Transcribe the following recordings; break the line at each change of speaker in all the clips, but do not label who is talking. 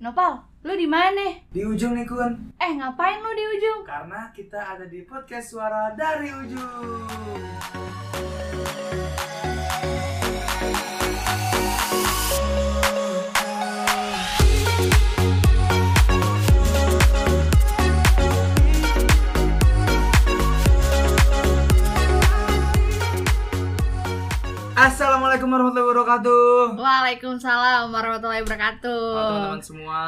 Nopal, lu di mana?
Di ujung nih Kun,
Eh, ngapain lu di ujung?
karena kita ada di podcast suara dari ujung. Assalamualaikum warahmatullahi wabarakatuh.
Waalaikumsalam warahmatullahi wabarakatuh.
Halo teman-teman semua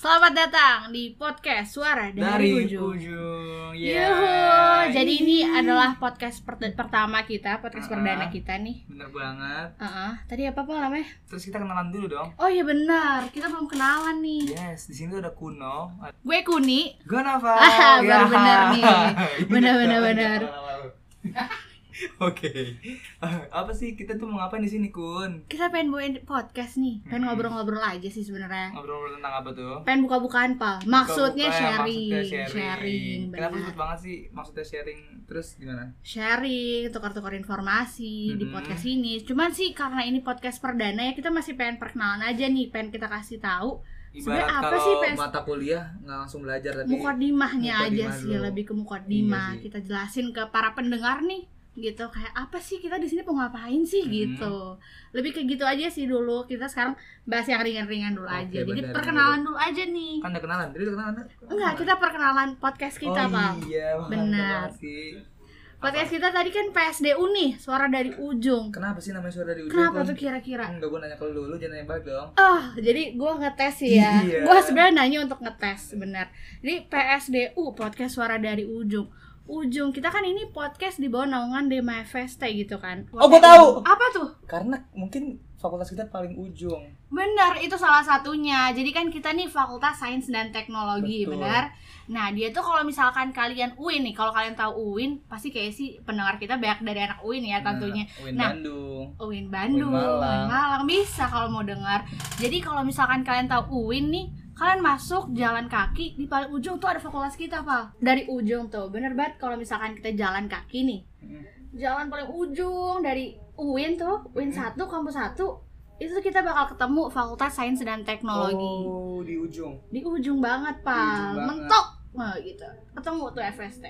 Selamat datang di podcast Suara dari,
dari,
Ujung. Iya.
ujung.
Yuhu.
Yeah.
Jadi ini adalah podcast perde- pertama kita, podcast
Uh-uh.
perdana kita nih.
bener banget.
Heeh. Tadi apa apa namanya?
Terus kita kenalan dulu dong.
Oh iya benar, kita belum kenalan nih.
Yes, di sini tuh ada Kuno.
Iya. Gue Kuni.
Gue Nafa.
Ah, baru
Ya.
bener nih.
Ini
Bener,
udah
bener,
banyak
bener.
awal-awal. Oke. Apa sih kita tuh mau ngapain di sini, Kun?
Kita pengen buat podcast nih, pengen
Hmm.
ngobrol-ngobrol aja sih sebenarnya.
Ngobrol-ngobrol tentang apa tuh?
Pengen buka-bukaan pal. Maksudnya
Bukan,
sharing,
maksudnya
sharing,
Kenapa
benar.
sebut banget sih maksudnya sharing? Terus gimana?
sharing, tukar-tukar informasi di
Mhm.
podcast ini. Cuman sih karena ini podcast perdana ya kita masih pengen perkenalan aja nih, pengen kita kasih tahu
Ibarat
Sebenarnya apa
kalau
sih, Pes?
mata kuliah nggak langsung belajar tapi
mukodimahnya aja
mukodimah
sih,
dulu.
lebih ke mukodimah.
Iya sih.
Kita jelasin ke para pendengar nih gitu kayak apa sih kita di sini mau ngapain sih
Mhm.
gitu. Lebih ke gitu aja sih dulu. Kita sekarang bahas yang ringan-ringan dulu
Oke,
aja. Jadi
benar,
perkenalan dulu aja nih.
kan udah kenalan. Jadi udah kenalan.
Enggak, kita perkenalan podcast kita,
oh,
Bang.
Iya, Bang.
Benar.
Terima kasih.
Podcast
Apa?
kita tadi kan PSDU nih, suara dari ujung.
Kenapa sih namanya suara dari ujung?
Kenapa
Kun?
tuh kira-kira?
Enggak, gue nanya ke lu, lu jangan nanya balik dong
Oh, jadi gue ngetes sih ya.
Iya.
Gue sebenarnya nanya untuk ngetes, benar. Jadi PSDU podcast suara dari ujung. Ujung kita kan ini podcast di bawah naungan Dema FST gitu kan.
Oh, gua tahu.
Apa tuh?
Karena mungkin fakultas kita paling ujung
Benar, itu salah satunya. Jadi kan kita nih Fakultas Sains dan Teknologi,
Betul.
benar. Nah, dia tuh kalau misalkan kalian UIN nih, kalau kalian tahu UIN, pasti kayak sih pendengar kita banyak dari anak UIN ya tentunya.
Nah, Win
Nah.
Bandung
UIN Bandung,
UIN
UIN
Malang.
Malang. bisa kalau mau dengar. Jadi kalau misalkan kalian tahu UIN nih, kalian masuk jalan kaki di paling ujung tuh ada fakultas kita, Pak. Dari ujung tuh. Bener banget kalau misalkan kita jalan kaki nih. Jalan paling ujung dari UIN tuh, UIN
Hmm.
1, kampus 1, itu kita bakal ketemu Fakultas Sains dan Teknologi.
Oh, di ujung
Di ujung banget, Pak.
ujung banget.
Mentok. Nah, gitu. Ketemu tuh FST.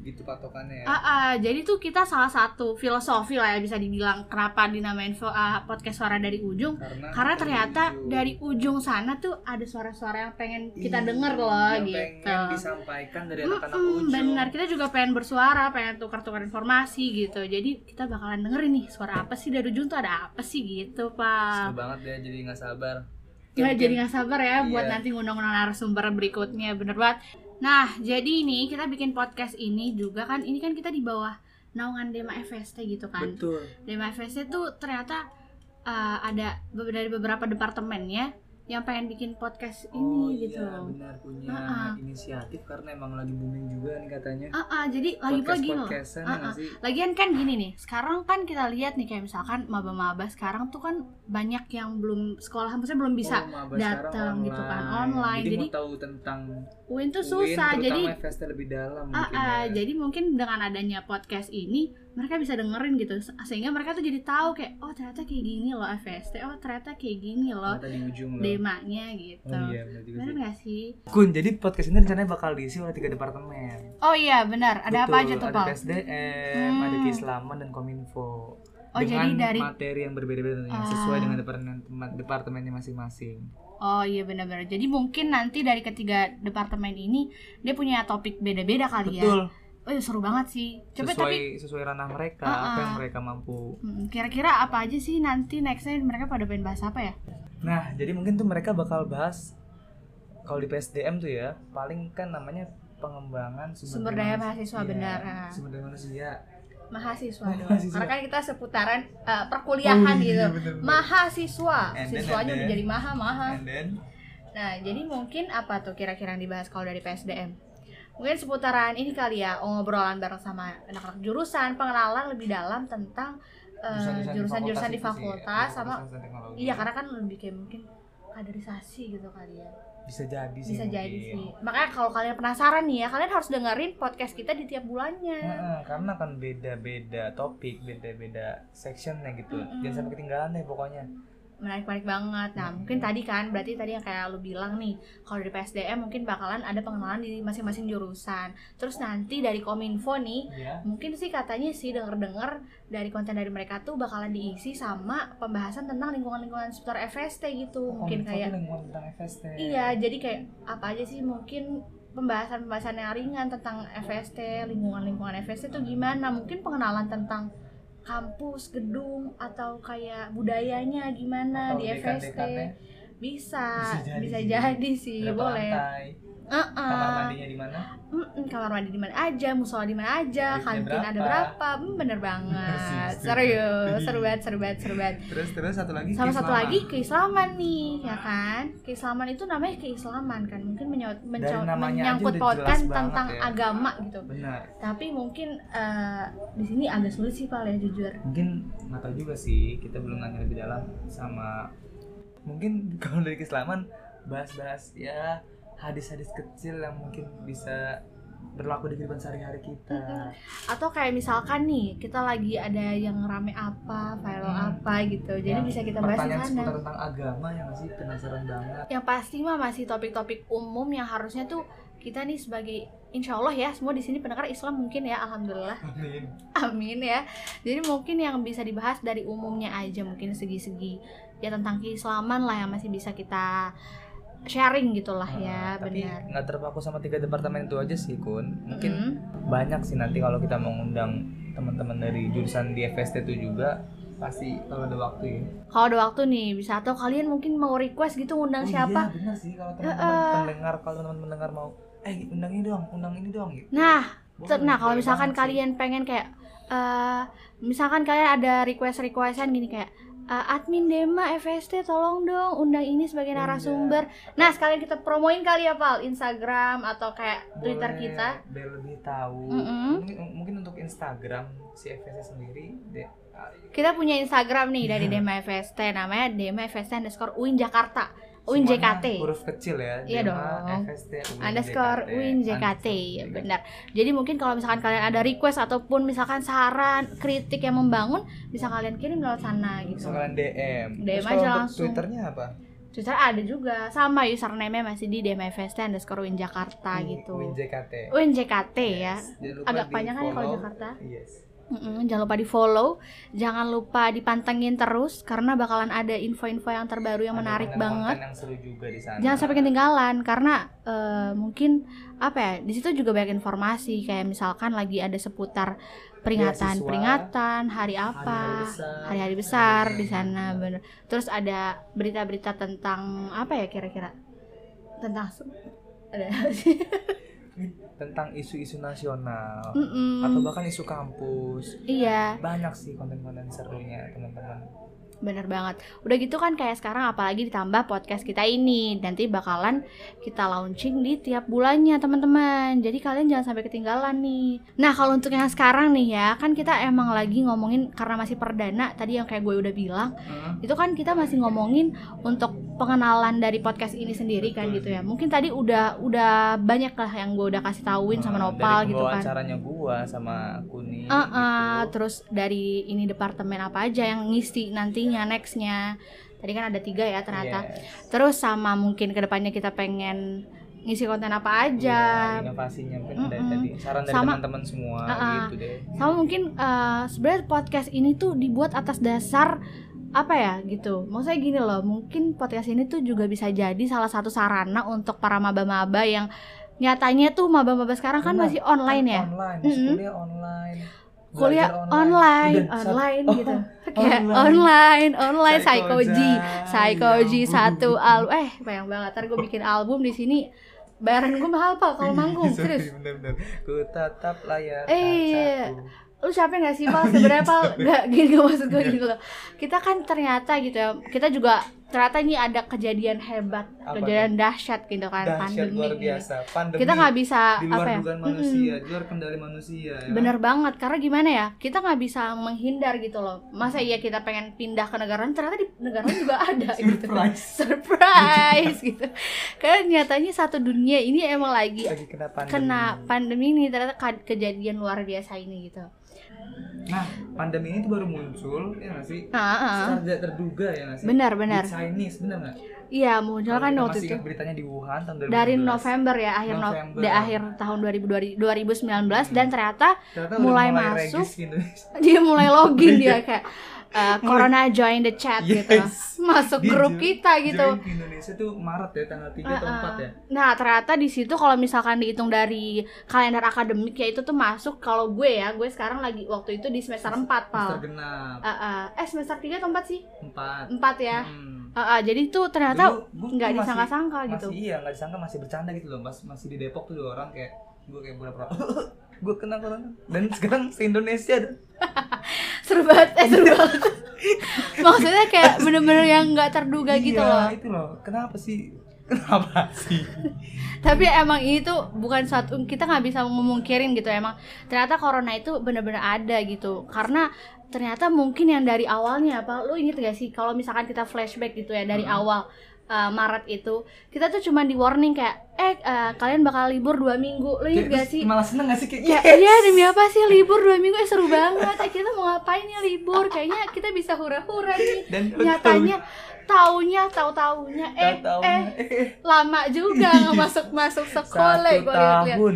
Gitu patokannya ya
Ah, ah, jadi tuh kita salah satu filosofi lah ya bisa dibilang kenapa dinamain ah, podcast suara dari ujung
Karena,
karena
kita
ternyata
di ujung.
dari ujung sana tuh ada suara-suara yang pengen kita
Iya,
denger loh
yang
gitu.
pengen disampaikan dari anak-anak
Mm-mm,
ujung
benar, kita juga pengen bersuara, pengen tukar-tukar informasi gitu. Jadi kita bakalan dengerin nih suara apa sih dari ujung tuh ada apa sih gitu,
Seru
Pak.
banget dia jadi nggak sabar
Nah,
Mungkin-
jadi nggak sabar ya buat
Iya.
nanti ngundang-ngundang narasumber berikutnya, bener banget. Nah, jadi ini kita bikin podcast ini juga kan, ini kan kita di bawah naungan Dema FST gitu kan.
Betul
Dema FSC tuh ternyata uh, ada be- dari beberapa departemennya yang pengen bikin podcast ini
Oh
gitu.
iya benar punya
Ah, ah.
inisiatif karena emang lagi booming juga nih katanya
Ah, ah, jadi lagi pula gini loh.
Podcast-podcastan
Ah,
ya nggak sih?
Lagian kan gini nih, sekarang kan kita lihat nih kayak misalkan maba-maba sekarang tuh kan banyak yang belum sekolah, maksudnya belum bisa.
Oh, maba sekarang
datang gitu kan, online.
Jadi,
Jadi-
mau tahu tentang
Win tuh
Oh. Win,
susah, jadi
terutama FST lebih dalam
ah,
mungkin
ah,
ya.
jadi mungkin dengan adanya podcast ini mereka bisa dengerin gitu, se- sehingga mereka tuh jadi tahu kayak oh ternyata kayak gini loh FST, oh ternyata kayak gini loh
Ternyata di ujung loh.
demanya gitu.
Oh iya, benar juga
Bener
sih.
gak sih?
Kun, jadi podcast ini rencananya bakal diisi oleh tiga departemen.
Oh iya benar, ada apa
Betul,
aja tuh Pak?
Ada SDM,
Hmm.
ada keislaman dan kominfo.
Oh,
dengan
jadi dari- Ah.
materi yang berbeda-beda tentunya, sesuai dengan departemen departemennya masing-masing.
Oh iya benar-benar. Jadi mungkin nanti dari ketiga departemen ini dia punya topik beda-beda kali ya.
Betul.
Oh iya, seru banget sih. Coba
sesuai
tapi
sesuai ranah mereka,
Ah,
apa yang
ah.
mereka mampu.
mm, kira-kira apa aja sih nanti nextnya mereka pada pengen bahas apa ya?
Nah, jadi mungkin tuh mereka bakal bahas kalau di PSDM tuh ya, paling kan namanya pengembangan
Sumber daya mahasiswa,
Iya,
benar, ah.
Sumber daya manusia.
Mahasiswa
Oh,
dong.
mahasiswa.
Karena kan kita seputaran eh, perkuliahan
Oh, iya,
gitu.
benar-benar.
Mahasiswa,
And then,
siswanya
and
udah
then.
jadi maha maha.
And then
Nah, jadi mungkin apa tuh kira-kira yang dibahas kalau dari PSDM? Mungkin seputaran ini kali ya, ngobrolan bareng sama anak-anak jurusan, pengenalan lebih dalam tentang eh, jurusan-jurusan di fakultas gitu ya, sama Iya karena kan lebih kayak mungkin kaderisasi gitu kali ya
bisa jadi sih
bisa
mungkin.
jadi sih makanya kalau kalian penasaran nih ya kalian harus dengerin podcast kita di tiap bulannya
Heeh, karena kan beda-beda topik, beda-beda sectionnya gitu.
Mm-mm.
Jangan sampai ketinggalan deh pokoknya.
menarik-menarik banget. Nah, mungkin tadi kan berarti tadi yang kayak lu bilang nih, kalau dari PSDM mungkin bakalan ada pengenalan di masing-masing jurusan. Terus nanti dari Kominfo nih,
Iya.
mungkin sih katanya sih denger-dengar dari konten dari mereka tuh bakalan diisi sama pembahasan tentang lingkungan-lingkungan seputar FST gitu. mungkin
Kominfo tuh
kayak
lingkungan tentang FST.
iya, jadi kayak apa aja sih mungkin pembahasan-pembahasan yang ringan tentang FST, lingkungan-lingkungan FST tuh gimana? Mungkin pengenalan tentang kampus, gedung atau kayak budayanya gimana
Atau
di FST.
dekan-dekannya,
Bisa,
Bisa jadi.
bisa jadi sih,
berapa
Iya, boleh.
lantai,
Heeh.
kamar mandinya di mana?
Mm-mm, kamar mandi di mana aja, musola di mana aja,
Liftnya
kantin ada
berapa?
berapa, Mm, bener banget,
Persis.
serius, seru banget, seru banget, seru banget.
Terus terus satu lagi
Sama satu
keislaman.
lagi keislaman nih, ya kan? Keislaman itu namanya keislaman kan, mungkin menyaut- menco-
namanya aja
menyangkut
udah
pautkan
jelas banget
tentang
ya.
agama gitu.
Benar.
Tapi mungkin eh, di sini agak sulit sih Pak ya jujur.
Mungkin nggak tahu juga sih, kita belum nanya lebih dalam sama mungkin kalau dari keislaman bahas-bahas ya hadis-hadis kecil yang mungkin bisa berlaku di kehidupan sehari-hari kita.
Atau kayak misalkan nih kita lagi ada yang rame apa, file
Hmm.
apa gitu, jadi
Yang
bisa kita bahas di
Pertanyaan
sana.
seputar tentang agama yang masih penasaran banget.
yang pasti mah masih topik-topik umum yang harusnya tuh kita nih sebagai insya Allah ya semua di sini pendengar Islam mungkin ya alhamdulillah
Amin.
amin ya jadi mungkin yang bisa dibahas dari umumnya aja mungkin segi-segi ya tentang keislaman lah yang masih bisa kita sharing gitulah
Ah,
ya
tapi
benar
nggak terpaku sama tiga departemen itu aja sih kun mungkin
Mm.
banyak sih nanti kalau kita mengundang teman-teman dari jurusan di FST itu juga pasti kalau ada waktu ya
kalau ada waktu nih bisa atau kalian mungkin mau request gitu
Oh
undang
iya,
siapa
bener sih kalau teman-teman
Heeh.
pendengar kalau teman-teman pendengar mau eh undang ini dong undang ini dong gitu
nah
Boleh,
Ter- nah kalau
boleh
misalkan
banget sih.
kalian pengen kayak eh misalkan kalian ada request requestan gini kayak eh, admin Dema FST tolong dong undang ini sebagai
Iya.
narasumber. Nah sekalian kita promoin kali ya Pal Instagram atau kayak Twitter
Boleh,
kita.
biar lebih tahu
Mm-mm.
mungkin, mungkin untuk Instagram si FST sendiri uh, de-
Kita punya Instagram nih dari
Iya.
Dema FST namanya Dema FST underscore Uin Jakarta Uin
semuanya
JKT.
huruf kecil ya
Iya
Dema,
dong.
FST Uin
underscore
JKT,
win JKT
underscore JKT.
iya, ya, benar jadi mungkin kalau misalkan kalian ada request ataupun misalkan saran kritik yang membangun bisa kalian kirim lewat sana gitu
Bisa kalian DM
DM
Terus kalau
aja
untuk
langsung.
Twitternya apa?
Twitter ada juga sama username masih di DMFST underscore Win Jakarta
Win-
gitu
Hmm, Win JKT
Win JKT ya
Yes. Jangan lupa
agak
di
kepanjangan ya kalau
follow.
Jakarta
Yes
Mm-mm, jangan lupa di follow jangan lupa dipantengin terus karena bakalan ada info-info yang terbaru yang
Ada
menarik
konten-konten
banget
yang seru juga di sana
jangan sampai ketinggalan karena eh, mungkin apa ya di situ juga banyak informasi kayak misalkan lagi ada seputar peringatan
Beasiswa,
peringatan hari
Hari-hari
apa
besar. Iya.
hari-hari besar di
Hari-hari
sana bener terus ada berita-berita tentang apa ya kira-kira tentang se- ada
tentang isu-isu nasional
Mm-mm.
atau bahkan isu kampus
iya
banyak sih konten-konten serunya teman-teman
bener banget udah gitu kan kayak sekarang apalagi ditambah podcast kita ini nanti bakalan kita launching di tiap bulannya teman-teman jadi kalian jangan sampai ketinggalan nih nah kalau untuk yang sekarang nih ya kan kita emang lagi ngomongin karena masih perdana tadi yang kayak gue udah bilang itu kan kita masih ngomongin untuk pengenalan dari podcast ini sendiri kan
Betul.
gitu ya mungkin tadi udah udah banyak lah yang gue udah kasih tauin sama
Ah,
Nopal gitu kan
caranya Hmm, gua sama Kuni
Eh, eh,
gitu.
terus dari ini departemen apa aja yang ngisi nantinya nextnya tadi kan ada tiga ya ternyata
Yes.
terus sama mungkin kedepannya kita pengen ngisi konten apa aja
Iya, inovasinya mungkin dari
Mm-mm.
tadi saran dari
Sama-
teman-teman semua
Uh-uh.
gitu deh
sama mungkin eh, sebenarnya podcast ini tuh dibuat atas dasar apa ya gitu maksudnya gini loh mungkin podcast ini tuh juga bisa jadi salah satu sarana untuk para maba-maba yang nyatanya tuh maba-maba sekarang kan
Benar,
masih online ya
online
Mm-mm.
kuliah online belajar
kuliah online online,
Udah, satu-
gitu kayak
online.
online online
Psychoji.
psychology psychology
Ya ampun.
satu al eh bayang banget ntar gue bikin album di sini bayaran gue mahal pak
Iya,
kalau manggung
Sorry,
serius
bener-bener. Ku tatap layar
Eh, iya.
kacaku.
lu capek gak sih pal sebenarnya pal gak gini gak maksud gue
Oh, Iya.
gitu loh kita kan ternyata gitu ya kita juga ternyata ini ada kejadian hebat
Apa
kejadian dahsyat gitu kan
Dahsyat luar
ini.
biasa pandemi
kita nggak bisa
di luar
apa ya
dugaan
mm-mm,
manusia di luar kendali manusia ya.
bener banget karena gimana ya kita nggak bisa menghindar gitu loh masa iya kita pengen pindah ke negara lain, ternyata di negara lain juga ada gitu
surprise
surprise gitu karena nyatanya satu dunia ini emang lagi
lagi kena pandemi
kena pandemi ini ternyata ka- kejadian luar biasa ini gitu.
Nah, pandemi ini tuh baru muncul, ya nggak sih?
Ah, ah, ah.
Secara tidak terduga ya nggak sih?
Benar, benar.
Di Chinese, benar nggak?
Iya, muncul
Kalau
kan
kita
waktu
masih
itu.
ingat beritanya di Wuhan tahun 2012.
Dari November ya, akhir no-
November. Hmm.
di akhir tahun 2020 2019 dan ternyata
Ternyata udah
mulai masuk.
regis di Indonesia.
dia mulai login
Iya.
dia kayak eh, corona join the chat gitu.
Yes.
Masuk
Dia
grup
join-
kita gitu.
Join di Indonesia tuh Maret ya, tanggal 3 atau
Uh-uh.
4 ya.
Nah, ternyata di situ kalau misalkan dihitung dari kalender akademik ya itu tuh masuk kalau gue ya, gue sekarang lagi waktu itu di semester 4,
Mister
Pal.
genap
Ah, ah. eh semester 3 atau 4 sih?
4.
4 ya.
Hmm.
Ah, ah, jadi tuh ternyata nggak disangka-sangka gitu.
Masih iya, nggak disangka masih bercanda gitu loh. Mas, masih di Depok tuh dua orang kayak gue kayak pura-pura gue kena corona dan sekarang se Indonesia ada
Seru banget, eh seru banget. Maksudnya kayak bener-bener yang nggak terduga gitu
Iya,
loh.
itu loh kenapa sih kenapa sih
Tapi emang itu bukan suatu kita nggak bisa memungkirin gitu emang. Ternyata corona itu bener-bener ada gitu. Karena ternyata mungkin yang dari awalnya apa lu inget gak sih kalau misalkan kita flashback gitu ya dari
Mhm.
awal uh, Maret itu kita tuh cuma di warning kayak eh uh, kalian bakal libur dua minggu lu inget
Kayak
gak
terus
Iya sih
malah seneng gak sih kayak
Ya,
yes!
iya demi apa sih libur dua minggu eh, seru banget. Eh, kita mau ngapain ya libur? Kayaknya kita bisa hura-hura nih.
dan
Nyatanya taunya tahu taunya eh
tahu
eh lama juga nggak masuk masuk sekolah
Iya. satu
gue lihat-lihat.
tahun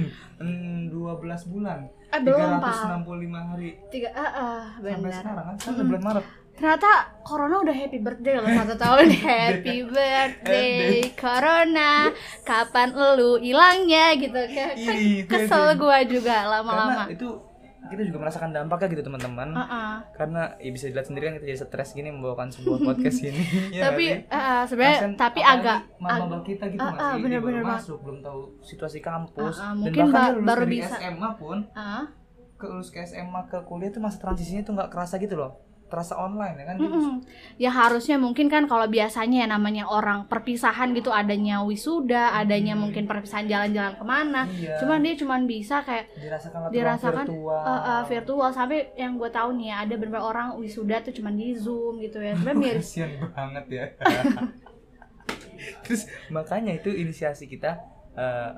dua belas bulan
Eh belum
tiga ratus
pak.
enam puluh lima hari
Tiga ah ah,
sampai
benar.
sekarang kan sekarang
Mm-mm.
bulan Maret
Ternyata corona udah happy birthday loh satu tahun happy birthday corona kapan elu hilangnya gitu kan Kan
Ih, itu
kesel
yang-
gue juga
karena
lama-lama.
itu kita juga merasakan dampaknya gitu teman-teman
Ah, ah.
karena ya bisa dilihat sendiri kan kita jadi stres gini membawakan sebuah podcast ini ya,
tapi
nggak sih?
ah, ah, sebenarnya
Kasian,
tapi
apalagi
agak
mama bang kita gitu
Ah,
masih
ah,
dia
bener-bener
baru
banget.
masuk belum tahu situasi kampus
Ah, ah, mungkin
dan bahkan
ba-
dia lulus
baru
dari
bisa.
SMA pun
Ah,
ke lulus ke SMA ke kuliah tuh masa transisinya tuh nggak kerasa gitu loh terasa online ya kan
mm-mm. Ya harusnya mungkin kan kalau biasanya ya namanya orang perpisahan gitu adanya wisuda, adanya
Hmm.
mungkin perpisahan jalan-jalan kemana.
iya
Cuman dia cuman bisa kayak
dirasakan lah
dirasakan,
dirasakan virtual
eh, eh, virtual sampai yang gue tahu nih ya ada beberapa orang wisuda tuh cuman di zoom gitu ya. Sebenarnya miris.
kasian banget ya terus makanya itu inisiasi kita eh,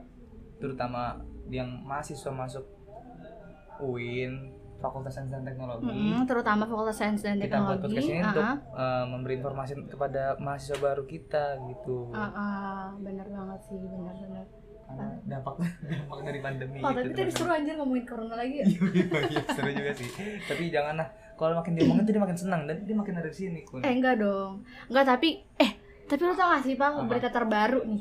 terutama yang mahasiswa masuk UIN Fakultas Sains dan Teknologi
Mm-mm, terutama fakultas sains dan
kita buat podcast
teknologi.
ini
Ah,
untuk
ah,
eh, memberi informasi kepada mahasiswa baru kita gitu
ah, ah, bener banget sih, bener-bener.
Iya, karena dampak dampak dari pandemi gitu,
Oh, tapi tadi
teman-teman.
seru anjir ngomongin corona lagi ya.
Iya, iya, iya, seru juga sih tapi janganlah kalau makin diomongin tuh dia makin senang dan dia makin ada di sini kun
Eh enggak dong. Enggak tapi eh tapi lo tau gak sih Pang
Apa?
berita terbaru nih?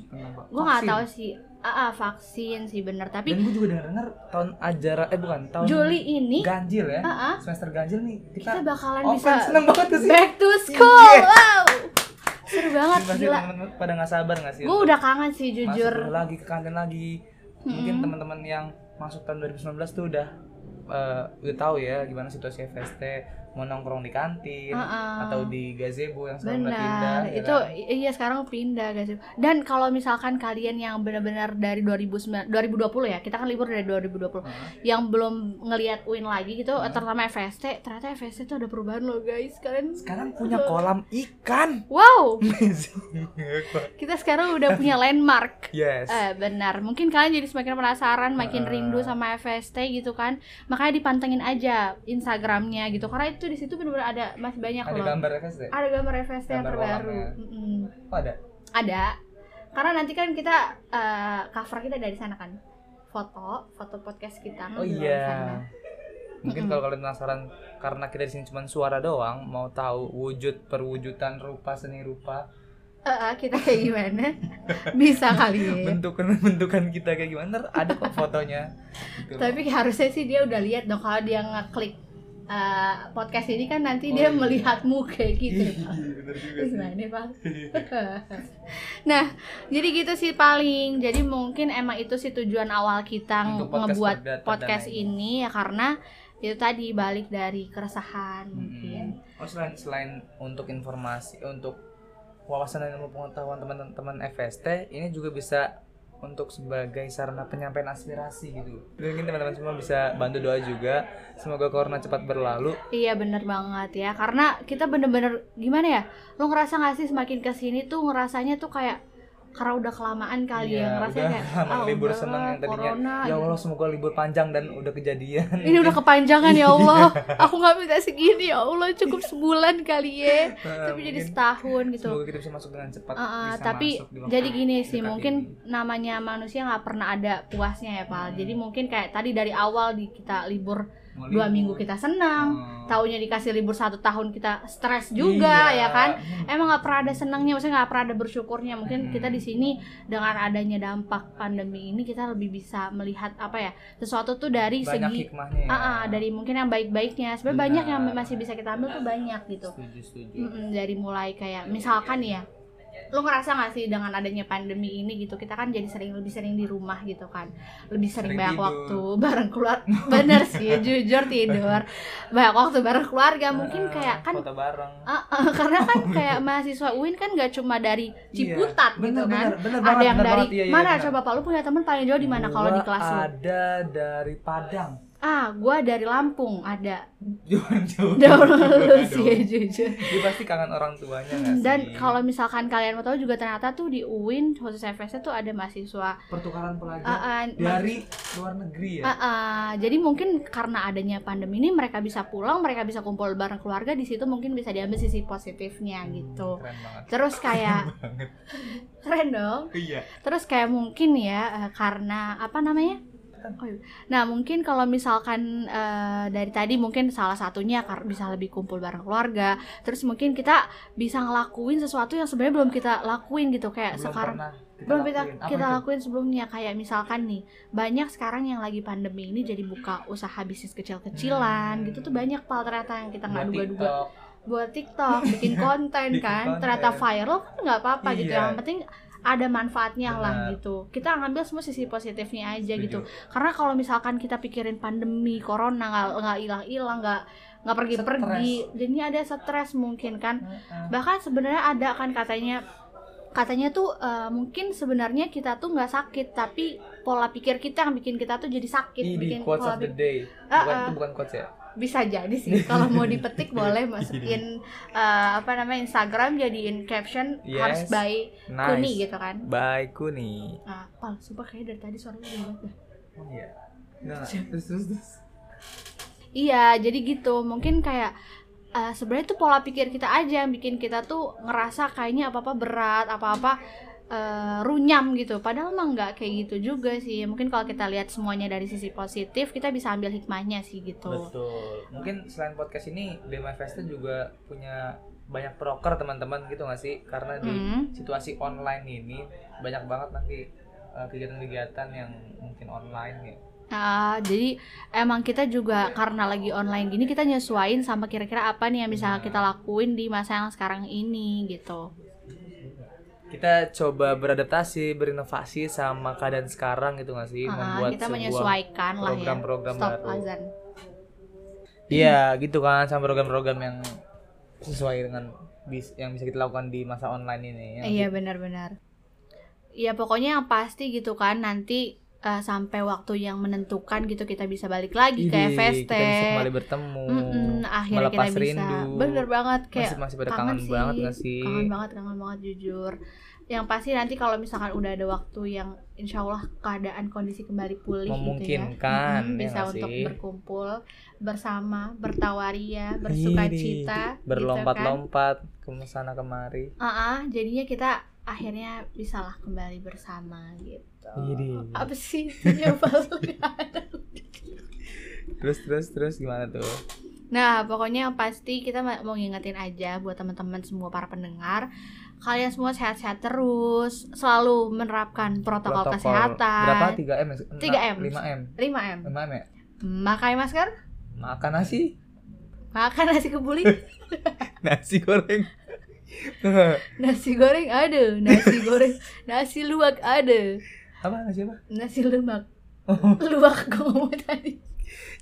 Gue nggak tahu sih. Ah, ah, vaksin sih bener tapi
dan gue juga dengar dengar tahun ajaran eh bukan tahun
Juli ini
ganjil ya
ah, ah,
semester ganjil nih
kita
kita,
bakalan
offense
bisa
seneng banget tuh sih Iya.
back to school.
Yes.
Wow. Seru banget
Pasti
gila.
teman-teman pada nggak sabar nggak sih
Gue udah kangen sih
Gitu. masuk dulu
jujur.
lagi ke kantin lagi mungkin
Mm-mm.
teman-teman yang masuk tahun 2019 tuh udah eh, udah tahu ya gimana situasi FST mau nongkrong di kantin
Ah, ah.
atau di gazebo yang selalu berpindah
Benar, itu i- iya sekarang pindah guys. Dan kalau misalkan kalian yang benar-benar dari 2009 2020 ya, kita kan libur dari 2020. yang belum ngelihat Win lagi gitu
Hmm.
terutama FST ternyata FST itu ada perubahan loh guys kalian
sekarang punya kolam ikan
wow
Amazing.
kita sekarang udah punya landmark
yes
Eh, benar mungkin kalian jadi semakin penasaran makin
Eh.
rindu sama FST gitu kan makanya dipantengin aja Instagramnya gitu karena itu di situ benar-benar ada masih banyak
ada
loh
gambar FST
ada gambar FST yang
Gambar
terbaru
kolamnya.
Mm-mm.
oh, ada
ada karena nanti kan kita eh, cover kita dari sana kan foto foto podcast kita
oh
ngambil dari
iya
sana.
mungkin
Mm-mm.
kalau kalian penasaran karena kita di sini cuma suara doang mau tahu wujud perwujudan rupa seni rupa
Eh, eh, kita kayak gimana bisa kali ya
bentukan bentukan kita kayak gimana ntar ada kok fotonya Gitu.
Tapi harusnya sih dia udah lihat dong kalau dia ngeklik eh, podcast ini kan nanti
Oh,
dia
iya.
melihatmu kayak gitu.
Iya, bener juga sih.
Gimana bang? nah, jadi gitu sih paling. Jadi mungkin emang itu sih tujuan awal kita
Untuk podcast
ngebuat
perdata dan
podcast
lain-lain.
ini ya karena itu tadi balik dari keresahan mungkin.
Mm-mm. Oh selain selain untuk informasi untuk wawasan dan ilmu pengetahuan teman-teman FST ini juga bisa untuk sebagai sarana penyampaian aspirasi gitu. Dan mungkin teman-teman semua bisa bantu doa juga. Semoga corona cepat berlalu.
Iya bener banget ya Karena kita bener-bener gimana ya Lo ngerasa gak sih semakin kesini tuh ngerasanya tuh kayak karena udah kelamaan kali
Iya,
ya ngerasanya
udah
kayak
lama
ah,
libur
udahlah,
seneng yang tadinya
corona,
ya
gitu.
Allah semoga libur panjang dan udah kejadian
ini udah kepanjangan ya Allah aku nggak minta segini ya Allah cukup sebulan kali ya
Eh,
tapi jadi
mungkin
setahun gitu
semoga kita bisa masuk dengan cepat
Uh-uh,
bisa
tapi
masuk di waktu
jadi gini sih
dekat
mungkin namanya manusia nggak pernah ada puasnya ya pal
Hmm.
jadi mungkin kayak tadi dari awal di kita libur
ini. Mau
dua
libur.
minggu kita senang
Hmm.
taunya dikasih libur satu tahun kita stres juga ya
Iya.
kan
Hmm.
emang nggak pernah ada senangnya maksudnya nggak pernah ada bersyukurnya mungkin
Hmm.
kita di sini dengan adanya dampak pandemi ini kita lebih bisa melihat apa ya sesuatu tuh dari
banyak
segi
hikmahnya ya.
ah ah, dari mungkin yang baik-baiknya sebenarnya
Benar.
banyak yang masih bisa kita ambil tuh banyak gitu
setuju setuju
Mm-mm, dari mulai kayak misalkan nih ya lu ngerasa nggak sih dengan adanya pandemi ini gitu kita kan jadi sering lebih sering di rumah gitu kan lebih sering, banyak
Sering tidur.
waktu bareng keluar bener sih jujur tidur banyak waktu bareng keluarga mungkin
Ah,
kayak kan
foto bareng
Ah, ah, karena kan kayak mahasiswa UIN kan nggak cuma dari Ciputat
Iya.
gitu
Bener,
kan.
bener, bener
ada
banget,
yang
bener
dari
banget. Iya, iya,
mana
bener.
coba Pak lu punya teman paling jauh di mana kalau di
Gua
kelas lu?
ada dari Padang
Ah, gua dari Lampung ada.
jauh-jauh
Jauh lu
Aduh.
sih jujur.
dia pasti kangen orang tuanya Iya nggak sih
Dan kalau misalkan kalian mau tahu juga ternyata tuh di UIN khusus FS tuh ada mahasiswa
pertukaran pelajar
ah, ah,
dari luar negeri ya
Ah, ah, jadi mungkin karena adanya pandemi ini mereka bisa pulang, mereka bisa kumpul bareng keluarga di situ mungkin bisa diambil sisi positifnya
Hmm,
gitu.
keren banget
Terus kayak
banget
keren dong.
iya
Terus kayak mungkin ya eh, karena apa namanya? Oh, iya. nah mungkin kalau misalkan eh, dari tadi mungkin salah satunya kar- bisa lebih kumpul bareng keluarga. Terus mungkin kita bisa ngelakuin sesuatu yang sebenarnya belum kita lakuin gitu kayak
belum
sekarang
pernah kita
belum kita
lakuin. Apa
kita
itu?
lakuin sebelumnya kayak misalkan nih banyak sekarang yang lagi pandemi ini jadi buka usaha bisnis kecil-kecilan
Hmm.
gitu tuh banyak pal ternyata yang kita nggak
Buat
duga-duga
TikTok.
buat TikTok bikin konten
Iya. Bikin
kan
konten.
ternyata viral kan nggak apa-apa gitu
Iya.
yang penting ada manfaatnya lah
Benar.
gitu kita ngambil semua sisi positifnya aja
Setuju.
gitu karena kalau misalkan kita pikirin pandemi corona nggak nggak hilang-hilang nggak nggak pergi-pergi jadi ada stres mungkin kan
Heeh.
bahkan sebenarnya ada kan katanya katanya tuh eh, mungkin sebenarnya kita tuh nggak sakit tapi pola pikir kita yang bikin kita tuh jadi sakit
Ini di
bikin
quotes of the
pikir-
day
Ah,
bukan
ah.
itu bukan quotes ya
bisa jadi sih kalau mau dipetik boleh
Iya.
masukin eh, apa namanya Instagram jadiin caption
Yes.
harus by
nice
Kuni gitu kan
Bye Kuni.
ah pal sumpah kayaknya dari tadi suaranya udah banget dah.
Oh iya. Nah, terus terus terus.
Iya, jadi gitu. Mungkin kayak eh, sebenarnya tuh pola pikir kita aja yang bikin kita tuh ngerasa kayaknya apa-apa berat, apa-apa eh, runyam gitu. Padahal mah nggak kayak gitu juga sih. Mungkin kalau kita lihat semuanya dari sisi positif, kita bisa ambil hikmahnya sih gitu.
Betul. Mungkin selain podcast ini, Bema Festa juga punya banyak proker teman-teman gitu nggak sih? Karena di
Hmm.
situasi online ini banyak banget nanti uh, kegiatan-kegiatan yang mungkin online ya.
Ah, jadi emang kita juga karena lagi online gini kita nyesuain sama kira-kira apa nih yang bisa
Nah.
kita lakuin di masa yang sekarang ini gitu.
Kita coba beradaptasi, berinovasi sama keadaan sekarang gitu nggak sih?
Ah,
Membuat
kita
sebuah
menyesuaikan lah ya.
program-program
Stop
baru.
azan.
Iya, gitu kan sama program-program yang sesuai dengan bis yang bisa kita lakukan di masa online ini. ya Yang
Iya benar-benar. Iya pokoknya yang pasti gitu kan nanti eh, sampai waktu yang menentukan gitu kita bisa balik lagi ke
Ide,
FST.
Iya, Kita bisa kembali bertemu.
Mm-mm, akhirnya
melepas
kita bisa.
rindu.
Bener banget kayak
masih masih pada kangen,
sih.
banget gak sih?
Kangen banget, kangen banget jujur. Yang pasti nanti kalau misalkan udah ada waktu yang insya Allah keadaan kondisi kembali pulih gitu ya.
Memungkinkan,
Mm-mm,
ya
bisa
nggak
untuk
sih?
berkumpul bersama, bertawaria, bersuka cita, gitu kan.
berlompat-lompat ke sana kemari.
Ah, ah, jadinya kita akhirnya bisa lah kembali bersama gitu.
Widih.
Apa sih intinya, Pak?
Terus terus terus gimana tuh?
Nah, pokoknya yang pasti kita ma- mau ngingetin aja buat teman-teman semua para pendengar, kalian semua sehat-sehat terus, selalu menerapkan protokol, kesehatan.
Berapa? 3M ya?
3M.
5M.
5M.
5M ya?
Pakai masker,
Makan nasi,
makan nasi kebuli,
nasi goreng.
nasi goreng ada, nasi goreng, nasi luwak ada,
apa nasi apa?
nasi lemak. Luwak gue ngomong tadi.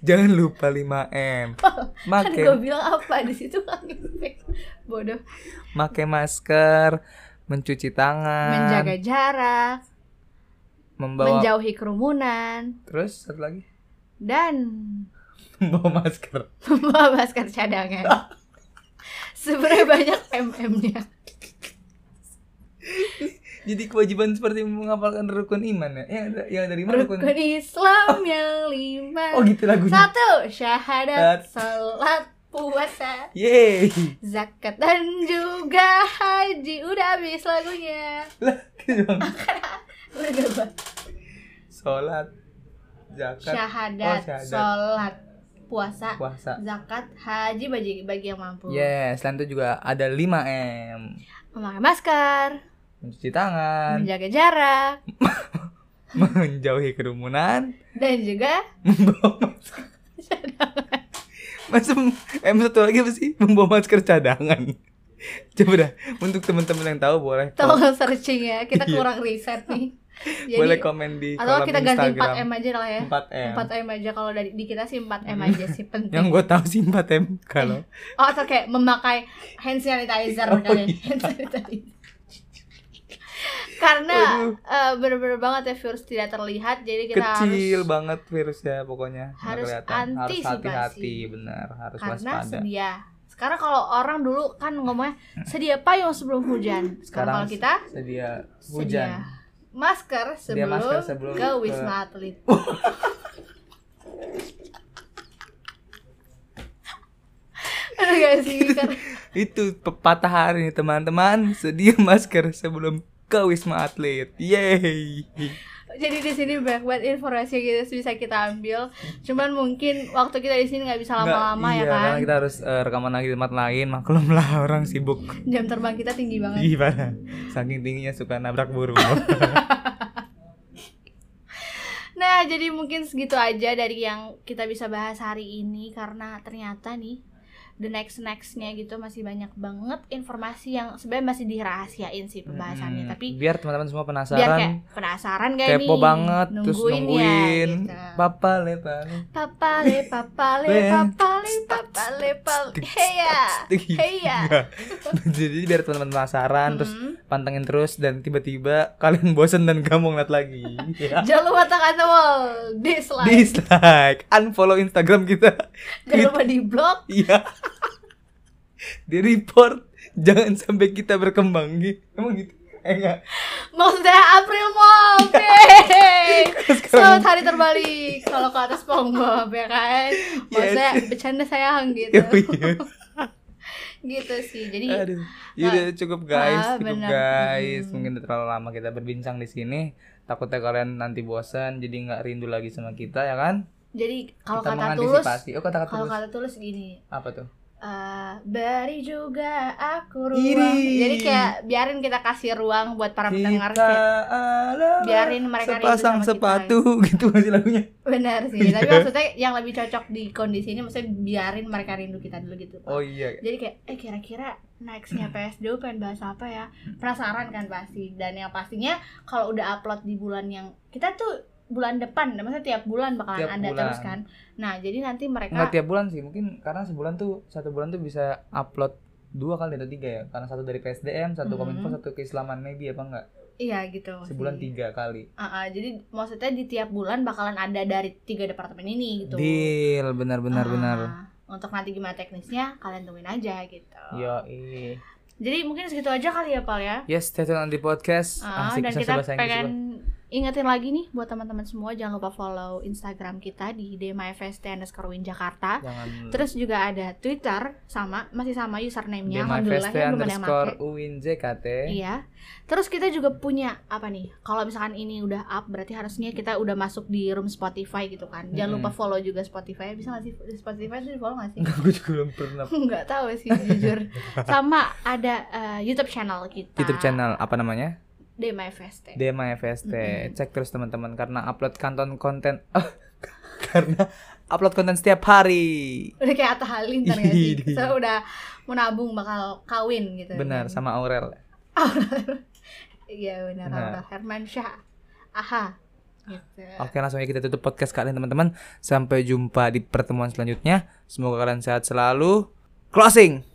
Jangan lupa 5M.
Kan
Make
gue bilang apa di situ kan bodoh.
make masker, mencuci tangan,
menjaga jarak,
membawa
menjauhi kerumunan,
terus satu lagi
dan
membawa masker.
membawa masker cadangan. Sebenarnya banyak MM-nya.
jadi kewajiban seperti menghafalkan rukun iman ya yang, yang dari mana rukun
Rukun Islam yang lima
oh gitu lagunya
Satu, syahadat,
Syahadat.
salat, puasa,
yeay
zakat dan juga haji Udah habis lagunya
lah gitu dong
Udah gak
sholat zakat
Syahadat,
Oh, syahadat.
salat, puasa,
puasa Iya.
zakat, haji bagi, bagi yang mampu
yes selain itu juga ada 5 m
Memakai masker,
mencuci tangan
menjaga jarak,
menjauhi kerumunan
dan juga
membawa masker Masa M satu lagi apa sih? Membawa masker cadangan Coba dah, untuk teman-teman yang tahu boleh kom-
tolong searching ya kita
Oh. Iya.
kurang riset nih Jadi,
boleh komen di
atau
kolom
kita ganti
Instagram
4 m aja lah ya
4M
4 m aja kalau dari di kita sih 4 m aja sih
Yang
penting
gue tahu sih 4M Kalau
oh atau kayak memakai hand sanitizer
Oh,
kali ya.
iya.
hand sanitizer karena
Aduh.
eh, bener-bener banget ya virus tidak terlihat jadi kita
kecil
harus
banget virusnya pokoknya Nggak
harus
kelihatan. harus
antisipasi.
hati-hati benar harus
karena
waspada Hmm.
sedia sekarang kalau orang dulu kan ngomongnya sedia payung sebelum hujan sekarang kalau kita
sedia
Sedia
hujan
Iya. masker
Sedia
sebelum,
masker sebelum
ke
ke-
wisma atlet. Aduh gak sih? Kan Karena
itu pepatah hari ini teman-teman sedia masker sebelum ke wisma atlet yeay
jadi di sini banyak banget informasi yang kita- bisa kita ambil. Cuman mungkin waktu kita di sini nggak bisa lama-lama ya
Nggak, iya,
kan.
karena kita harus eh, rekaman lagi di tempat lain maklum lah orang sibuk
Jam terbang kita tinggi banget.
gimana saking tingginya suka nabrak burung
Nah, jadi mungkin segitu aja dari yang kita bisa bahas hari ini karena ternyata nih the next nextnya gitu masih banyak banget informasi yang sebenarnya masih dirahasiain sih pembahasannya,
Mm,
tapi
biar teman-teman semua
biar kayak
penasaran
penasaran gak nih
kepo banget terus nungguin
ya, gitu.
papa lepale
papale papale
Ben.
papale papale ya, papale heya heya
Gitu. jadi biar teman-teman penasaran terus
Mhm.
pantengin terus dan tiba-tiba kalian bosen dan gak mau ngeliat lagi Ya.
jangan lupa tekan tombol dislike
dislike unfollow instagram kita
jangan lupa di blog
iya di report jangan sampai kita berkembang emang gitu eh enggak
maksudnya April Mop yeay.
Iya. Sekarang-
selamat hari terbalik kalau ke atas SpongeBob ya kan maksudnya bercanda sayang gitu
Yoi.
gitu sih jadi
Iya, Oh, Aduh. Ya udah cukup guys,
Ah,
cukup
benar.
guys.
Hmm.
Mungkin udah terlalu lama kita berbincang di sini. Takutnya kalian nanti bosan jadi nggak rindu lagi sama kita ya kan?
jadi kalau kata
kita
tulus
mengantisipasi. oh, kata-kata
kalau
tulus.
kata tulus gini
Apa tuh?
Eh, beri juga aku ruang.
Iri.
Jadi kayak biarin kita kasih ruang buat para pendengar
kita
kayak,
adalah
biarin mereka rindu
sepasang
sama kita,
sepatu gitu masih lagunya.
benar sih. Tapi
Iya.
maksudnya yang lebih cocok di kondisi ini maksudnya biarin mereka rindu kita dulu gitu.
Oh iya.
Jadi kayak eh kira-kira nextnya
Hmm.
PSDU pengen bahas apa ya? Penasaran kan pasti. Dan yang pastinya kalau udah upload di bulan yang kita tuh bulan depan, maksudnya tiap bulan bakalan
Tiap
ada
bulan.
terus kan. Nah, jadi nanti mereka
Nggak tiap bulan sih, mungkin karena sebulan tuh satu bulan tuh bisa upload dua kali atau tiga ya karena satu dari PSDM satu
Mhm.
kominfo satu keislaman maybe apa enggak
iya gitu.
sebulan
sih.
tiga kali
Ah, ah, jadi maksudnya di tiap bulan bakalan ada dari tiga departemen ini gitu.
deal benar-benar
Ah,
benar
Untuk nanti gimana teknisnya kalian tungguin aja gitu.
yo iya
Jadi mungkin segitu aja kali ya Pal ya.
Yes, stay tune on the podcast.
Ah,
Asik,
dan
bisa
kita
bahasa Inggris
pengen
gua.
ingetin lagi nih buat teman-teman semua jangan lupa follow Instagram kita di dmfst E underscore win Jakarta.
jangan
Terus juga ada Twitter sama masih sama username-nya. Alhamdulillah
DMFST
ya belum ada yang
E underscore
pakai.
Uin JKT.
Iya. Terus kita juga punya apa nih? Kalau misalkan ini udah up, berarti harusnya kita udah masuk di room Spotify gitu kan. Jangan lupa
Mm-mm.
follow juga Spotify. Bisa nggak sih di Spotify itu di follow nggak sih?
Gue juga belum pernah.
Nggak tahu sih jujur. Sama ada eh, YouTube channel kita.
YouTube channel apa namanya?
DMFST.
DMFST.
Mm-mm.
Cek terus teman-teman karena upload kanton konten Oh, karena upload konten setiap hari.
udah kayak Atta Halilintar nggak sih?
Ih.
So, udah menabung bakal kawin gitu.
Iya. Benar sama Aurel.
Iya benar.
Benar.
Aurel Herman Syah. Aha. Gitu.
Oke, langsung aja kita tutup podcast kalian teman-teman. Sampai jumpa di pertemuan selanjutnya. Semoga kalian sehat selalu. Closing.